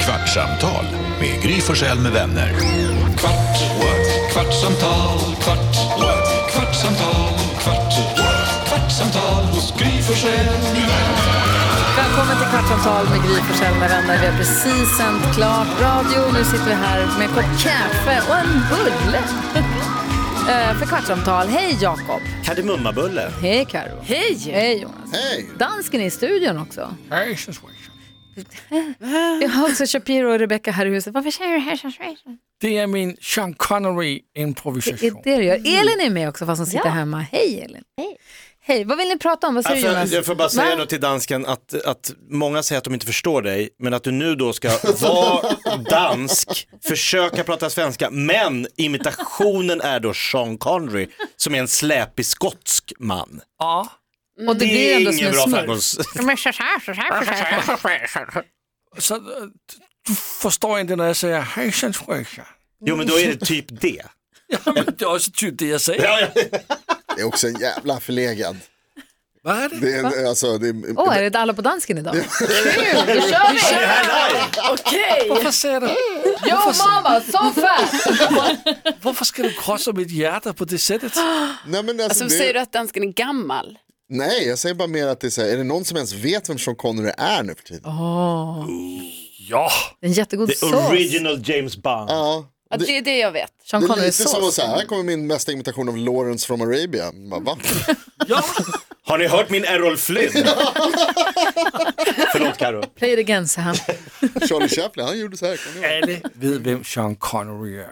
Kvartsamtal med Gry Forssell med vänner. Kvart, what? kvartsamtal, kvart, what? kvartsamtal, kvart, what? kvartsamtal hos Gry Forssell med vänner. Välkommen till Kvartsamtal med Gry Forssell med vänner. Vi har precis sänt klart radio. Nu sitter vi här med en kopp kaffe och en bulle. Eh, För Kvartsamtal. Hej Jakob. Kardemummabulle. Hej Karo. Hej. Hej Jonas. Hej. Dansken är i studion också. Hej, Vi har också Shapiro och Rebecca här i huset. Varför säger du hej Det är min Sean Connery Det är improvisation. det du gör. Elin är med också fast hon sitter hemma. Hej Elin. Mm. Hej. Hej, vad vill ni prata om? Vad säger Alltså, du Jonas? jag får bara säga Va? då till dansken att, att många säger att de inte förstår dig, men att du nu då ska vara dansk, försöka prata svenska, men imitationen är då Sean Connery som är en släpig skotsk man. Ja. Och det blir ändå som ingen en bra smurf. framgångs... Så, eh, du förstår inte när jag säger hejsan svejsan. Jo men då är det typ det. Ja, men det är också typ det jag säger. Det är också en jävla förlegad. Vad är det? Det är, en- alltså, det är, Åh, är det alla på dansken idag? Kul, då kör vi! Varför säger du? Yo mamma, so fast! Varför ska du krossa mitt hjärta på det sättet? nej, men alltså, Alltså, det, Säger du att dansken är gammal? nej, jag säger bara mer att det är så här, är det någon som ens vet vem Sean Connery är nu för tiden? Ja. En jättegod The sås. original James Bond. Ja, Ja, det är det jag vet. Sean det är Connery lite som att sås. så här, här kommer min bästa imitation av Lawrence from Arabia. Man Bara, va? ja. Har ni hört min Errol Flynn? Förlåt Karo. Play it again, så här. Charlie Chaplin, han gjorde så här. Kom ihåg. Alla vet vem Sean Connery är.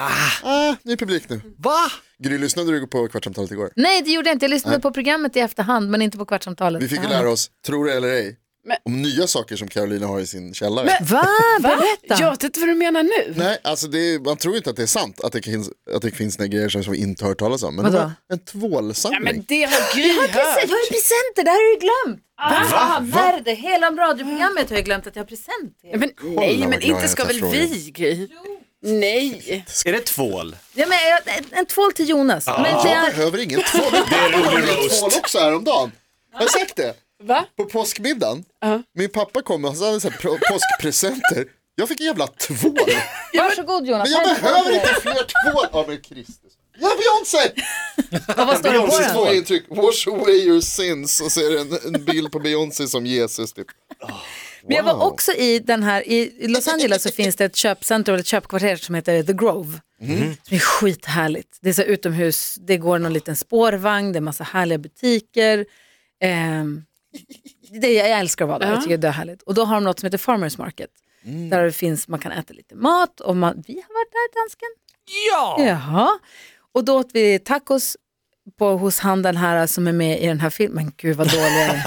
Ah, ny publik nu. Va? Gry, lyssnade du på Kvartsamtalet igår? Nej, det gjorde jag inte. Jag lyssnade på programmet i efterhand, men inte på Kvartsamtalet. Vi fick ju Ah. lära oss, tror det eller ej, Men- om nya saker som Carolina har i sin källare. Va? Berätta! Jag vet inte vad du menar nu. Nej, alltså det är, man tror inte att det är sant att det finns, att det finns några grejer som vi inte hört talas om. Men Vadå? det var en Ja, tvålsamling. men det har Gry Precis, hört. jag har ju presenter, det här har du glömt! Va? Värde, hela radioprogrammet har jag glömt att jag har present till Ja, er. Men, nej, vad men glad inte jag ska är väl för vi, Gry? Nej. Är det tvål? ja, men, jag- en- En tvål till Jonas. Men det Jag är, behöver ingen tvål. Det är rolig roast. tvål också häromdagen. Har jag sagt det? Va? På påskmiddagen, min pappa kom och han hade så här pro- påskpresenter. Jag fick en jävla tvål. varsågod Jonas, Men jag här är behöver tvålen. inte fler tvål. Ja men Kristus. Ja Beyoncé! Och Vad står det på Beyoncés den? två intryck. Wash away your sins. Och så är det en, en bild på Beyoncé som Jesus typ. Men jag Wow. var också i den här, i i Los Angeles så finns det ett köpcenter eller ett köpkvarter som heter The Grove. Som är skithärligt. Det är så här utomhus, det går någon liten spårvagn, det är massa härliga butiker. Ehm, det, jag älskar att vara där, jag tycker det är härligt. Och då har de något som heter Farmers Market. Där det finns, man kan äta lite mat och man, vi har varit där dansken. Ja. Jaha. Och då åt vi tacos på, hos han den här som är med i den här filmen. Gud vad dålig jag är.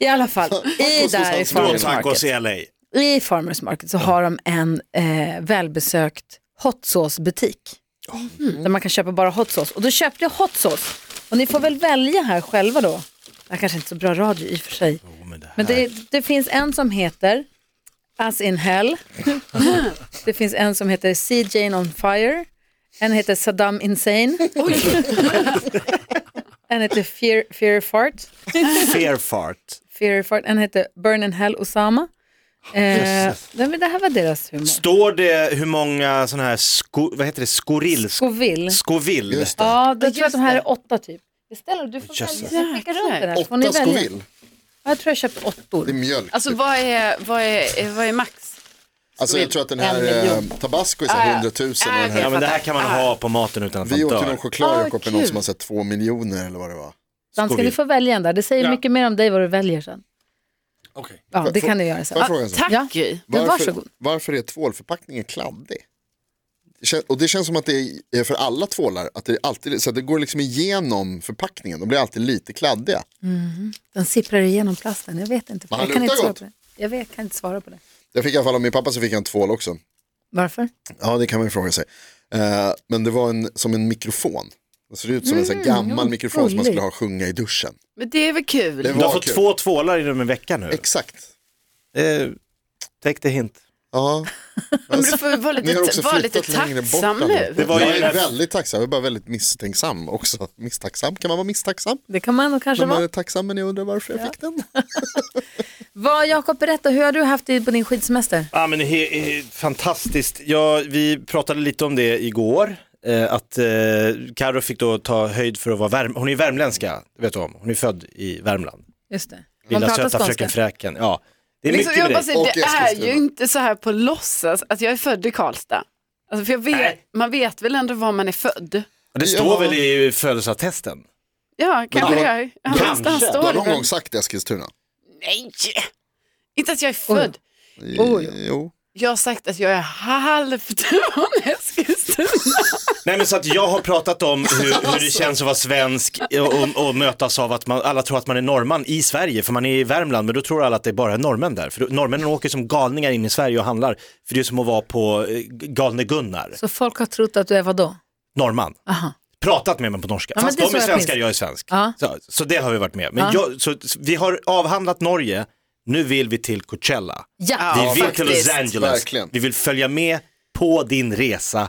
I alla fall, i hos där han i som Farmers Tacos Market. i LA. I Farmers Market så har de en eh, välbesökt hot sauce-butik. Mm. Där man kan köpa bara hot sauce. Och då köpte jag hot sauce. Och ni får väl välja här själva då. Det här kanske inte är så bra radio i och för sig. Men det, det finns en som heter As in hell. det finns en som heter CJ on fire. En heter Saddam insane. en heter Fear, Fear fart. Fair fart. Fear Fart. En hette Burn in Hell Osama. Ah, Eh, nej, men det här var deras humor. Står det hur många sådana här, sko, vad heter det, skorill? Sko, Scoville. skovill? Just det. Ja, jag tror att de här är åtta typ. Beställer du? Du får Just välja. Jag skickar runt den här. så får ni Åtta välja. Scoville. Ja, Jag tror jag köpte Det är åttor. mjölk. Alltså vad är, vad är, vad är max? Alltså jag tror att den här En eh, miljon. Tabasco är så här Ah, 100 000 och ah, den här Ja men det här kan man ha på maten utan att man Vi åt ju dör. någon choklad Ah, Jakob med någon kul. som har sett typ två miljoner eller vad det var. Dansken, du får välja en där. Det säger Ja. mycket mer om dig vad du väljer sen. Okej. Ja, det Får- kan du göra Får jag sen. fråga en sak? Ah, Tack Ja. Gry. Men Varför, varsågod. varför är tvålförpackningen kladdig? Det kän- Och det känns som att det är för alla tvålar, att det, alltid, så att det går liksom igenom förpackningen, de blir alltid lite kladdiga. Den sipprar igenom plasten. Jag vet inte. Men Jag han kan inte luktar svara gott. på det. Jag vet, kan inte svara på det. Jag fick i alla fall av min pappa så fick jag en tvål också. Varför? Ja, det kan man ju fråga sig. Eh, men det var en, som en mikrofon. Det ser ut som en sån här gammal mikrofon som man skulle ha och sjunga i duschen. Mm, Men det är väl kul? Det Du har var fått kul. två tvålar inom en vecka nu. Exakt. Eh, take the hint. Ja, Men du får vara ni har lite, också var lite flyttat längre bort. tacksam än- nu. Det var ju jag är den här- väldigt tacksam, jag är bara väldigt misstänksam också. Misstänksam, kan man vara misstänksam? Det kan man nog kanske Men man vara. är tacksam men jag undrar varför jag fick den. Vad, Jakob, berätta, hur har du haft det på din skidsemester? Ja, men he, he, fantastiskt. Ja, vi pratade lite om det igår. Eh, att eh, Karo fick då ta höjd för att vara värm... Hon är ju värmländska, det vet du om. Hon är född i Värmland. Just det. Man Lilla pratar söta skånska. fröken Fräken. Ja. Det är Liksom, mycket jag med bara dig. säger, Och det är Eskilstuna. ju inte så här på låtsas. Alltså, jag är född i Karlstad. Alltså, för jag vet, Nej. man vet väl ändå var man är född? Det står väl i födelseattesten? Ja, kanske Ja. det är. Ja, Kanske. någonstans Du Du står har det någon väl. gång sagt Eskilstuna? Nej, inte att jag är född. Oh, ja. Jo. Jag har sagt att jag är halvt från Eskilstuna. Nej men så att jag har pratat om hur, hur det Alltså. känns att vara svensk och, och, och mötas av att man, alla tror att man är norrman i Sverige för man är i Värmland men då tror alla att det bara är norrmän där. För då- norrmännen åker som galningar in i Sverige och handlar för det är som att vara på eh, galne Gunnar, Så folk har trott att du är vadå? norrman. Aha. Pratat med mig på norska. Ja, men Fast det de tror är jag svenskar, finns. jag är svensk. Ja. Så, så det har vi varit med. Men Ja. jag, så, så vi har avhandlat Norge, nu vill vi till Coachella. Ja. Vi vill till faktiskt. Los Angeles. Verkligen. Vi vill följa med på din resa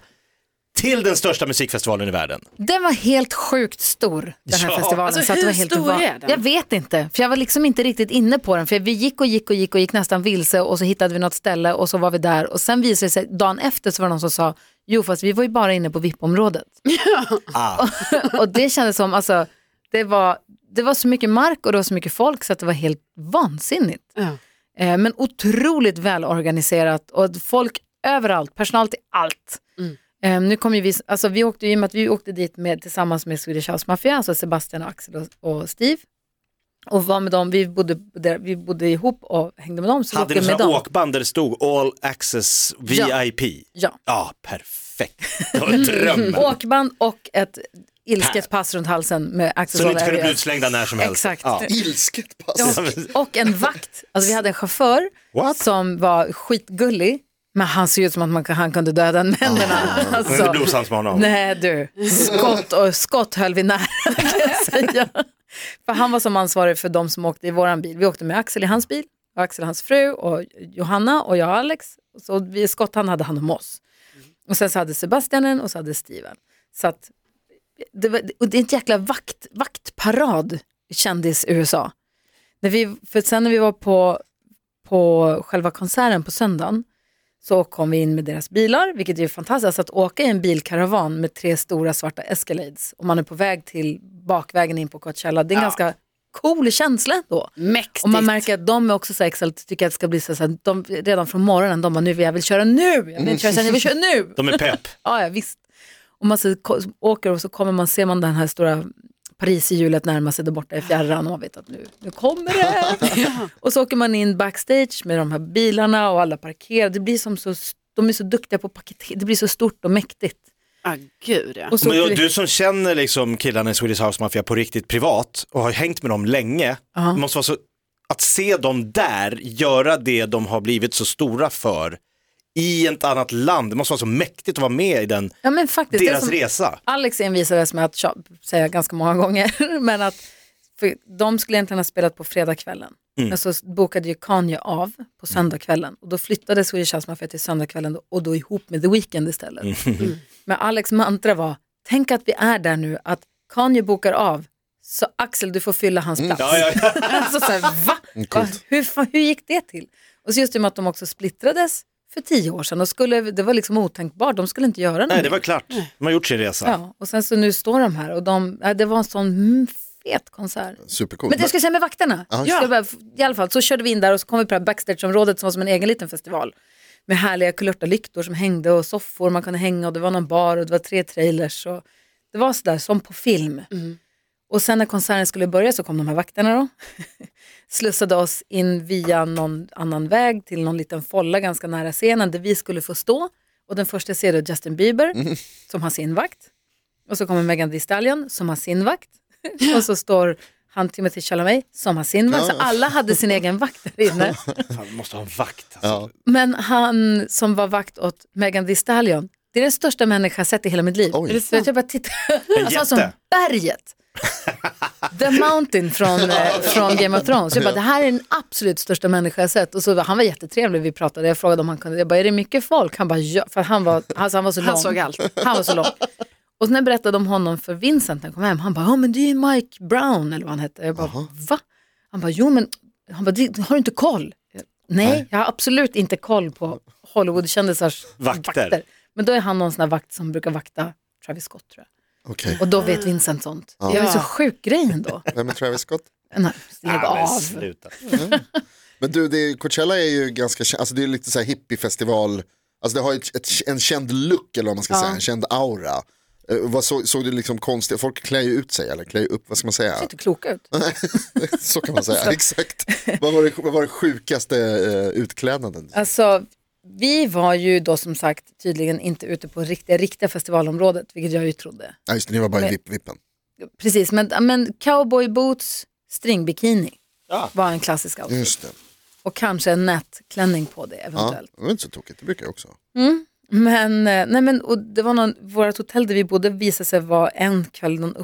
till den största musikfestivalen i världen. Den var helt sjukt stor, den här Ja. festivalen. Alltså, att det hur var helt stor va- är den? Jag vet inte, för jag var liksom inte riktigt inne på den. För vi gick och gick och gick och gick nästan vilse och så hittade vi något ställe och så var vi där. Och sen visade det sig, dagen efter så var det någon som sa, jo fast vi var ju bara inne på VIP-området. Ah. och det kändes som, alltså, det var, det var så mycket mark och det var så mycket folk så att det var helt vansinnigt. Eh, men otroligt välorganiserat och folk överallt, personal till allt. Eh, nu kom ju vi, alltså vi åkte ju, i och med att vi åkte dit med, tillsammans med Swedish House Mafia, alltså Sebastian, och Axel och, och Steve. Och var med dem, vi bodde, där- vi bodde ihop och hängde med dem. Så vi Hade åkte ni med sådana dem. åkband där det stod All Access Ja. VIP? Ja, Ja. Mm. perfekt. Det var drömmen. Åkband och ett ilsket pass runt halsen med Axel Så ni inte kunde Solberg. bli utslängda när som helst. Exakt. Ja. Ilsket pass. Och, och en vakt. Alltså vi hade en chaufför What? som var skitgullig, men han såg ut som att man, han kunde döda en med händerna. Men det Alltså, blev osams med honom. nej du, skott och skott höll vi nära kan jag säga. För han var som ansvarig för de som åkte i våran bil. Vi åkte med Axel i hans bil, och Axel och hans fru och Johanna och jag och Alex. Så vi, skott han hade hand om oss. Och sen så hade Sebastian en och så hade Steven. Så att, det, var, och det är en jäkla vakt, vaktparad kändis-USA. När vi, för sen när vi var på, på själva konserten på söndagen så kom vi in med deras bilar, vilket är ju fantastiskt. Alltså att åka i en bilkaravan med tre stora svarta Escalades och man är på väg till bakvägen in på Coachella, det är en ganska cool känsla då. Mäktigt. Och man märker att de är också så här exalt, tycker att det ska bli så här, de, redan från morgonen, de bara nu, jag vill köra nu, jag vill inte köra sen, jag vill köra nu. De är pepp. Ja, ja visst. Och man så, ko- åker och så kommer man, ser man den här stora Paris i hjulet närma sig där borta i fjärran och man vet att nu, nu kommer det. och så åker man in backstage med de här bilarna och alla parkerar. Det blir som så, de är så duktiga på att paketera, det blir så stort och mäktigt. Ja, Ah, gud ja. Och så Men åker jag, vi- du som känner liksom killarna i Swedish House Mafia på riktigt privat och har hängt med dem länge, det måste vara så, att se dem där göra det de har blivit så stora för i ett annat land, det måste vara så mäktigt att vara med i den, ja, men faktiskt, det är deras som- resa. Alex envisades med att tja- säga ganska många gånger, men att för de skulle egentligen ha spelat på fredagskvällen. Mm. Men så bokade ju Kanye av på söndagskvällen och då flyttade Swedish House Mafia till söndagskvällen och då ihop med The Weeknd istället. Mm. Men Alex mantra var, tänk att vi är där nu, att Kanye bokar av, så Axel du får fylla hans plats. Mm. Ja, ja, ja. Mm, Alltså så här, va? va? Hur, fan- hur gick det till? Och så just det med att de också splittrades för tio år sedan och skulle, det var liksom otänkbart, de skulle inte göra något Nej, det mer. var klart, de har gjort sin resa. Ja, och sen så nu står de här och de, ja, det var en sån mm, fet konsert. Supercoolt. Men det jag skulle säga med vakterna, Ja. Jag bara, i alla fall så körde vi in där och så kom vi på det här backstageområdet som var som en egen liten festival. Med härliga kulörta-lyktor som hängde och soffor man kunde hänga och det var någon bar och det var tre trailers. Och det var sådär som på film. Och sen när konserten skulle börja så kom de här vakterna då. Slussade oss in via någon annan väg till någon liten folla ganska nära scenen där vi skulle få stå. Och den första ser då Justin Bieber Mm. som har sin vakt. Och så kommer Megan Thee Stallion som har sin vakt. Och så står han Timothy Chalamet som har sin vakt. Så alla hade sin egen vakt där inne. Fan, vi måste ha en vakt. Alltså. Ja. Men han som var vakt åt Megan Thee Stallion, det är den största människa jag sett i hela mitt liv. Oj. Så jag bara tittar. Han sa jätte. som berget. The Mountain från, eh, från Game of Thrones. Jag bara, det här är den absolut största människa jag sett. Och så, var- han var jättetrevlig, vi pratade, jag frågade om han kunde, jag bara, är det mycket folk? Han bara, ja. För han var, alltså, han var så lång. Han såg allt. Han var så lång. Och sen när jag berättade om honom för Vincent när han kom hem, han bara, ja men det är ju Mike Brown eller vad han hette. Jag bara, va? Han bara, jo men Han bara, "Det- har du inte koll? Jag, Nej, jag har absolut inte koll på Hollywoodkändisars Vakter. vakter. Men då är han någon sån här vakt som brukar vakta Travis Scott tror jag. Okej, Och då vet Vincent sånt. Ja. Det är så sjuk grej ändå. vem är Travis Scott? Nej, Lägg men av. sluta. Men du, det är, Coachella är ju ganska, kä- alltså det är lite så här hippiefestival, alltså det har ju ett, ett, en känd look eller vad man ska säga, en känd aura. Eh, vad så, såg du liksom konstigt, folk klär ju ut sig eller klär ju upp, vad ska man säga? Ser inte klok ut. så kan man Alltså. säga, exakt. Vad var det, vad var det sjukaste eh, utklädnaden? Alltså, vi var ju då som sagt tydligen inte ute på riktiga, riktiga festivalområdet, vilket jag ju trodde. Ja just det, ni var bara i Men- vipp, vippen. Precis, men, men cowboyboots, stringbikini Ja. var en klassisk outfit. Just det, Och kanske en nätklänning på det Mm. ja, eventuellt. det var inte så tokigt, det brukar jag också. Men, eh, nej men och det var någon, vårt hotell där vi bodde visade sig vara en kväll någon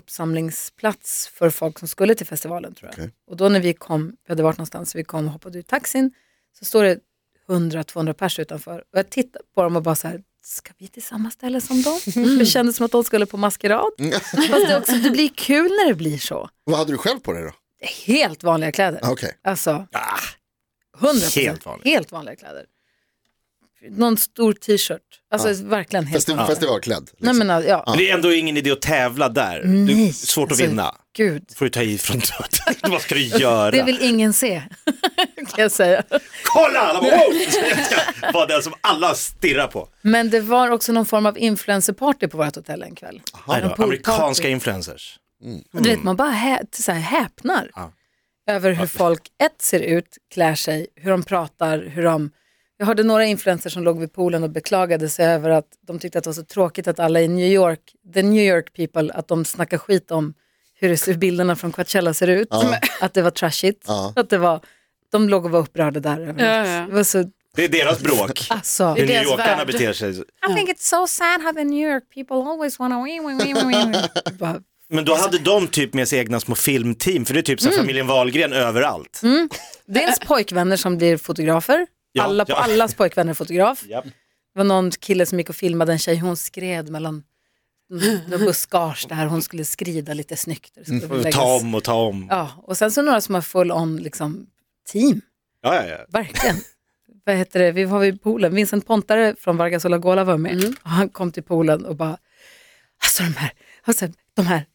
uppsamlingsplats för folk som skulle till festivalen tror jag. Okej. Och då när vi kom, vi hade varit någonstans, vi kom och hoppade ur taxin, så står det 100-200 pers utanför. Och jag tittar på dem och bara så här, ska vi till samma ställe som dem? Det kändes som att de skulle på maskerad. Mm. Fast det, också, det blir kul när det blir så. Vad hade du själv på dig då? Det är helt vanliga kläder. Ah, Okej, Alltså, 100 helt vanligt. helt vanliga kläder. Någon stor t-shirt. Alltså verkligen helt Festi- vanligt. festivalklädd. Liksom. Nej men alltså, ja, Men det är ändå ingen idé att tävla där. Det är Nej, svårt att alltså- vinna. gud. får du ta i från döden. Vad ska du göra? Det vill ingen se, kan jag säga. Kolla! Alla bara, wow! Jag ska vara den som alla stirrar på. Men det var också någon form av influencerparty på vårt hotell en kväll. Nej En då, poolparty. amerikanska influencers. Mm. Och Du vet, man bara hä så här häpnar över hur folk, ett, ser ut, klär sig, hur de pratar, hur de... Jag hörde några influencers som låg vid poolen och beklagade sig över att de tyckte att det var så tråkigt att alla i New York, the New York people, att de snackar skit om hur, det, hur bilderna från Coachella ser ut, att det var trashigt, Ja. att det var... De låg och var upprörda där. över Ja, något. ja. Det var så... Det är deras bråk. Alltså, Hur deras newyorkarna värld. beter sig. I think it's so sad how the New York people always wanna... wee, wee, wee, wee, wee. Bara, Men då hade de typ med sig egna små filmteam, för det är typ så Mm. här familjen Wahlgren överallt. Dels pojkvänner som blir fotografer. Ja, alla, ja. Allas pojkvänner är fotograf. Japp. Det var någon kille som gick och filmade en tjej, hon skred mellan några buskage där hon skulle skrida lite snyggt. Det skulle läggas- Mm. Ta om och ta om. Ja, och sen så några som har full on liksom, team, Ja, ja, ja. verkligen. Vad heter det, vi var vid poolen, Vincent Pontare från Vargas och Lagola var med. Mm. Och han kom till poolen och bara, alltså de här, alltså, de här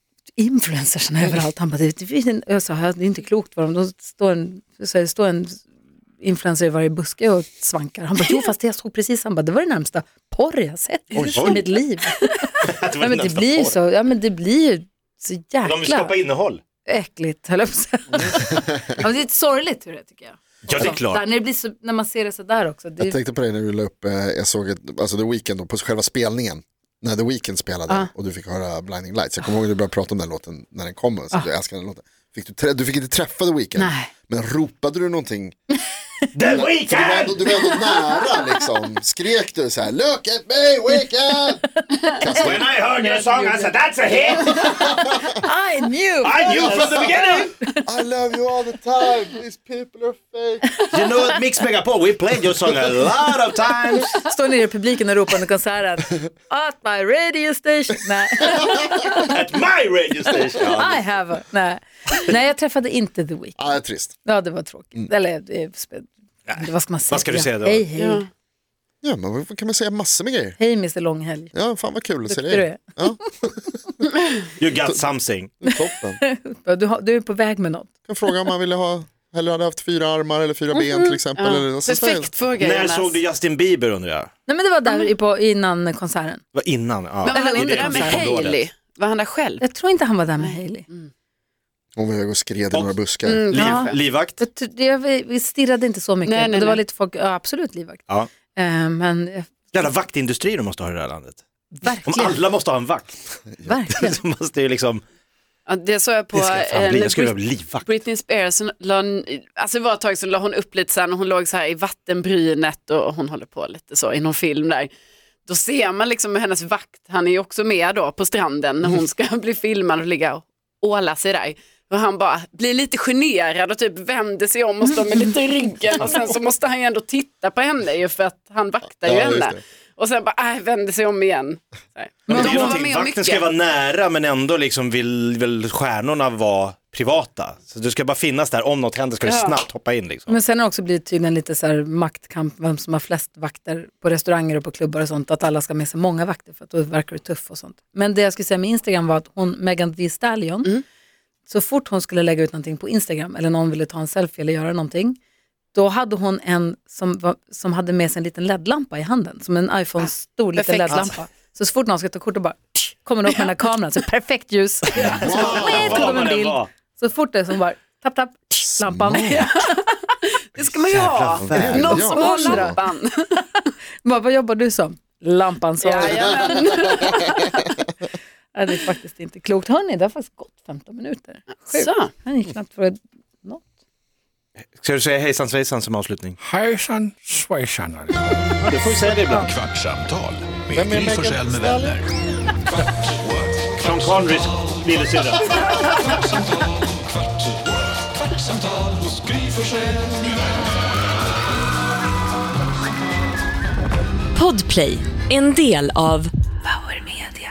influencersna överallt. Han bara, det, det, det, jag sa, det är inte klokt vad de, de står en, så här, det står en influencer i varje buske och svankar. Han bara, jo fast jag såg precis, han bara, det var det närmsta porr jag sett i mitt liv. Det, var Nej, men det nästan blir ju porr. så, ja men det blir ju så De vill skapa jäkla innehåll. äckligt, höll jag på att säga. Mm. ja, men det är lite sorgligt hur det är, tycker jag. Ja, det är liksom. Där, klart. när, det blir så, när man ser det sådär också. Det, Jag tänkte på det när du la upp, eh, jag såg ett, alltså The Weeknd då, på själva spelningen. När The Weeknd spelade Ah. och du fick höra Blinding Lights. Jag kommer ihåg att du började prata om den låten när den kom. Så Jag älskar den låten. Fick du, trä- du fick inte träffa The Weeknd. Ah. Nej. Men ropade du någonting? The För du, var ändå, Weeknd! du var ändå nära liksom. Skrek du så här, look at me Weeknd! When I heard your song I said that's a hit! I knew! I knew from the beginning! I love you all the time, these people are fake. You know what Mix Megapol, we played your song a lot of times. Står nere i publiken och ropar under konserten. At my radio station. Nej, At my radio station. I have a... Nej. Nej, jag träffade inte The Weeknd. Ah, trist. Ja, det var tråkigt. Eller, det, är spe- vad ska man säga? Mm. Vad ska du säga då? Hej, hej. Ja. Ja, men vad kan man säga massor med grejer? Hej, Mr Långhelg. Ja, fan vad kul att se Duktig du dig. är. Ja, You got something. toppen. Du, har, du är på väg med något. kan fråga om man ville ha, eller hade haft fyra armar eller fyra ben till exempel. Eller, och så säger- Perfekt fråga När Jonas. såg du Justin Bieber undrar jag? Nej, men det var där i på, innan konserten. Det var innan. Ja. Men var han Det är inte det där med konsertområdet. Hailey? Var han där själv? Jag tror inte han var där med Hailey. Hon var hög och skred i några buskar. Mm, Liv, livvakt? Jag, tror- jag, vi stirrade inte så mycket. Nej, nej, det var nej. lite folk, ja, absolut livvakt. Ja. Eh, men eh, Jävla vaktindustri de måste ha i det här landet. Om verkligen, alla måste ha en vakt verkligen. så måste ju liksom, Ja, det såg jag på det ska jag fan en bli, jag skulle eh, Brit- vilja bli livvakt. Britney Spears, la, alltså det var ett tag sedan la hon upp lite sen, hon låg så här i vattenbrynet och hon håller på lite så i någon film där. Då ser man liksom hennes vakt, han är ju också med då på stranden när hon ska bli filmad och ligga och åla sig där. Och han bara blir lite generad och typ vänder sig om och står med lite i ryggen och sen så måste han ju ändå titta på henne ju för att han vaktar ju Ja, just henne. det. Och sen bara, äh, vänder sig om igen. Så här. Men det är ju hon var någonting, med om vakten ska mycket. vara nära men ändå liksom vill väl stjärnorna vara privata. Så du ska bara finnas där, om något händer ska du snabbt hoppa in liksom. Men sen har det också blivit tydligen lite så här maktkamp, vem som har flest vakter på restauranger och på klubbar och sånt, att alla ska ha med sig många vakter för att då verkar det tuff och sånt. Men det jag skulle säga med Instagram var att hon, Megan Thee Stallion, så fort hon skulle lägga ut någonting på Instagram eller någon ville ta en selfie eller göra någonting, då hade hon en som, var, som hade med sig en liten LED-lampa i handen, som en iPhone-stor liten perfekt. LED-lampa. Så, så fort någon ska ta kort och bara tsch, kommer det upp med den här kameran, så perfekt ljus. Så wow. Vad kom man en än bild. var. Så fort det är som bara tapp, tapp, tsch, lampan. Det ska man ju ha. Någon som Ja. har lampan. Vad, vad jobbar du som? Lampansvarig. Jajamän. Ja, det är faktiskt inte klokt. Hörni, det har faktiskt gått 15 minuter. Så. Han gick knappt för att- något. Ska du säga hejsan svejsan som avslutning? Hejsan svejsan. Du får ju säga det ibland. Kvartsamtal Vem med är Gry Megan Forssell med Stallion? vänner. Sean Connerys lillasyrra. Kvartsamtal hos Gry Forssell med vänner. Podplay, en del av Power Media.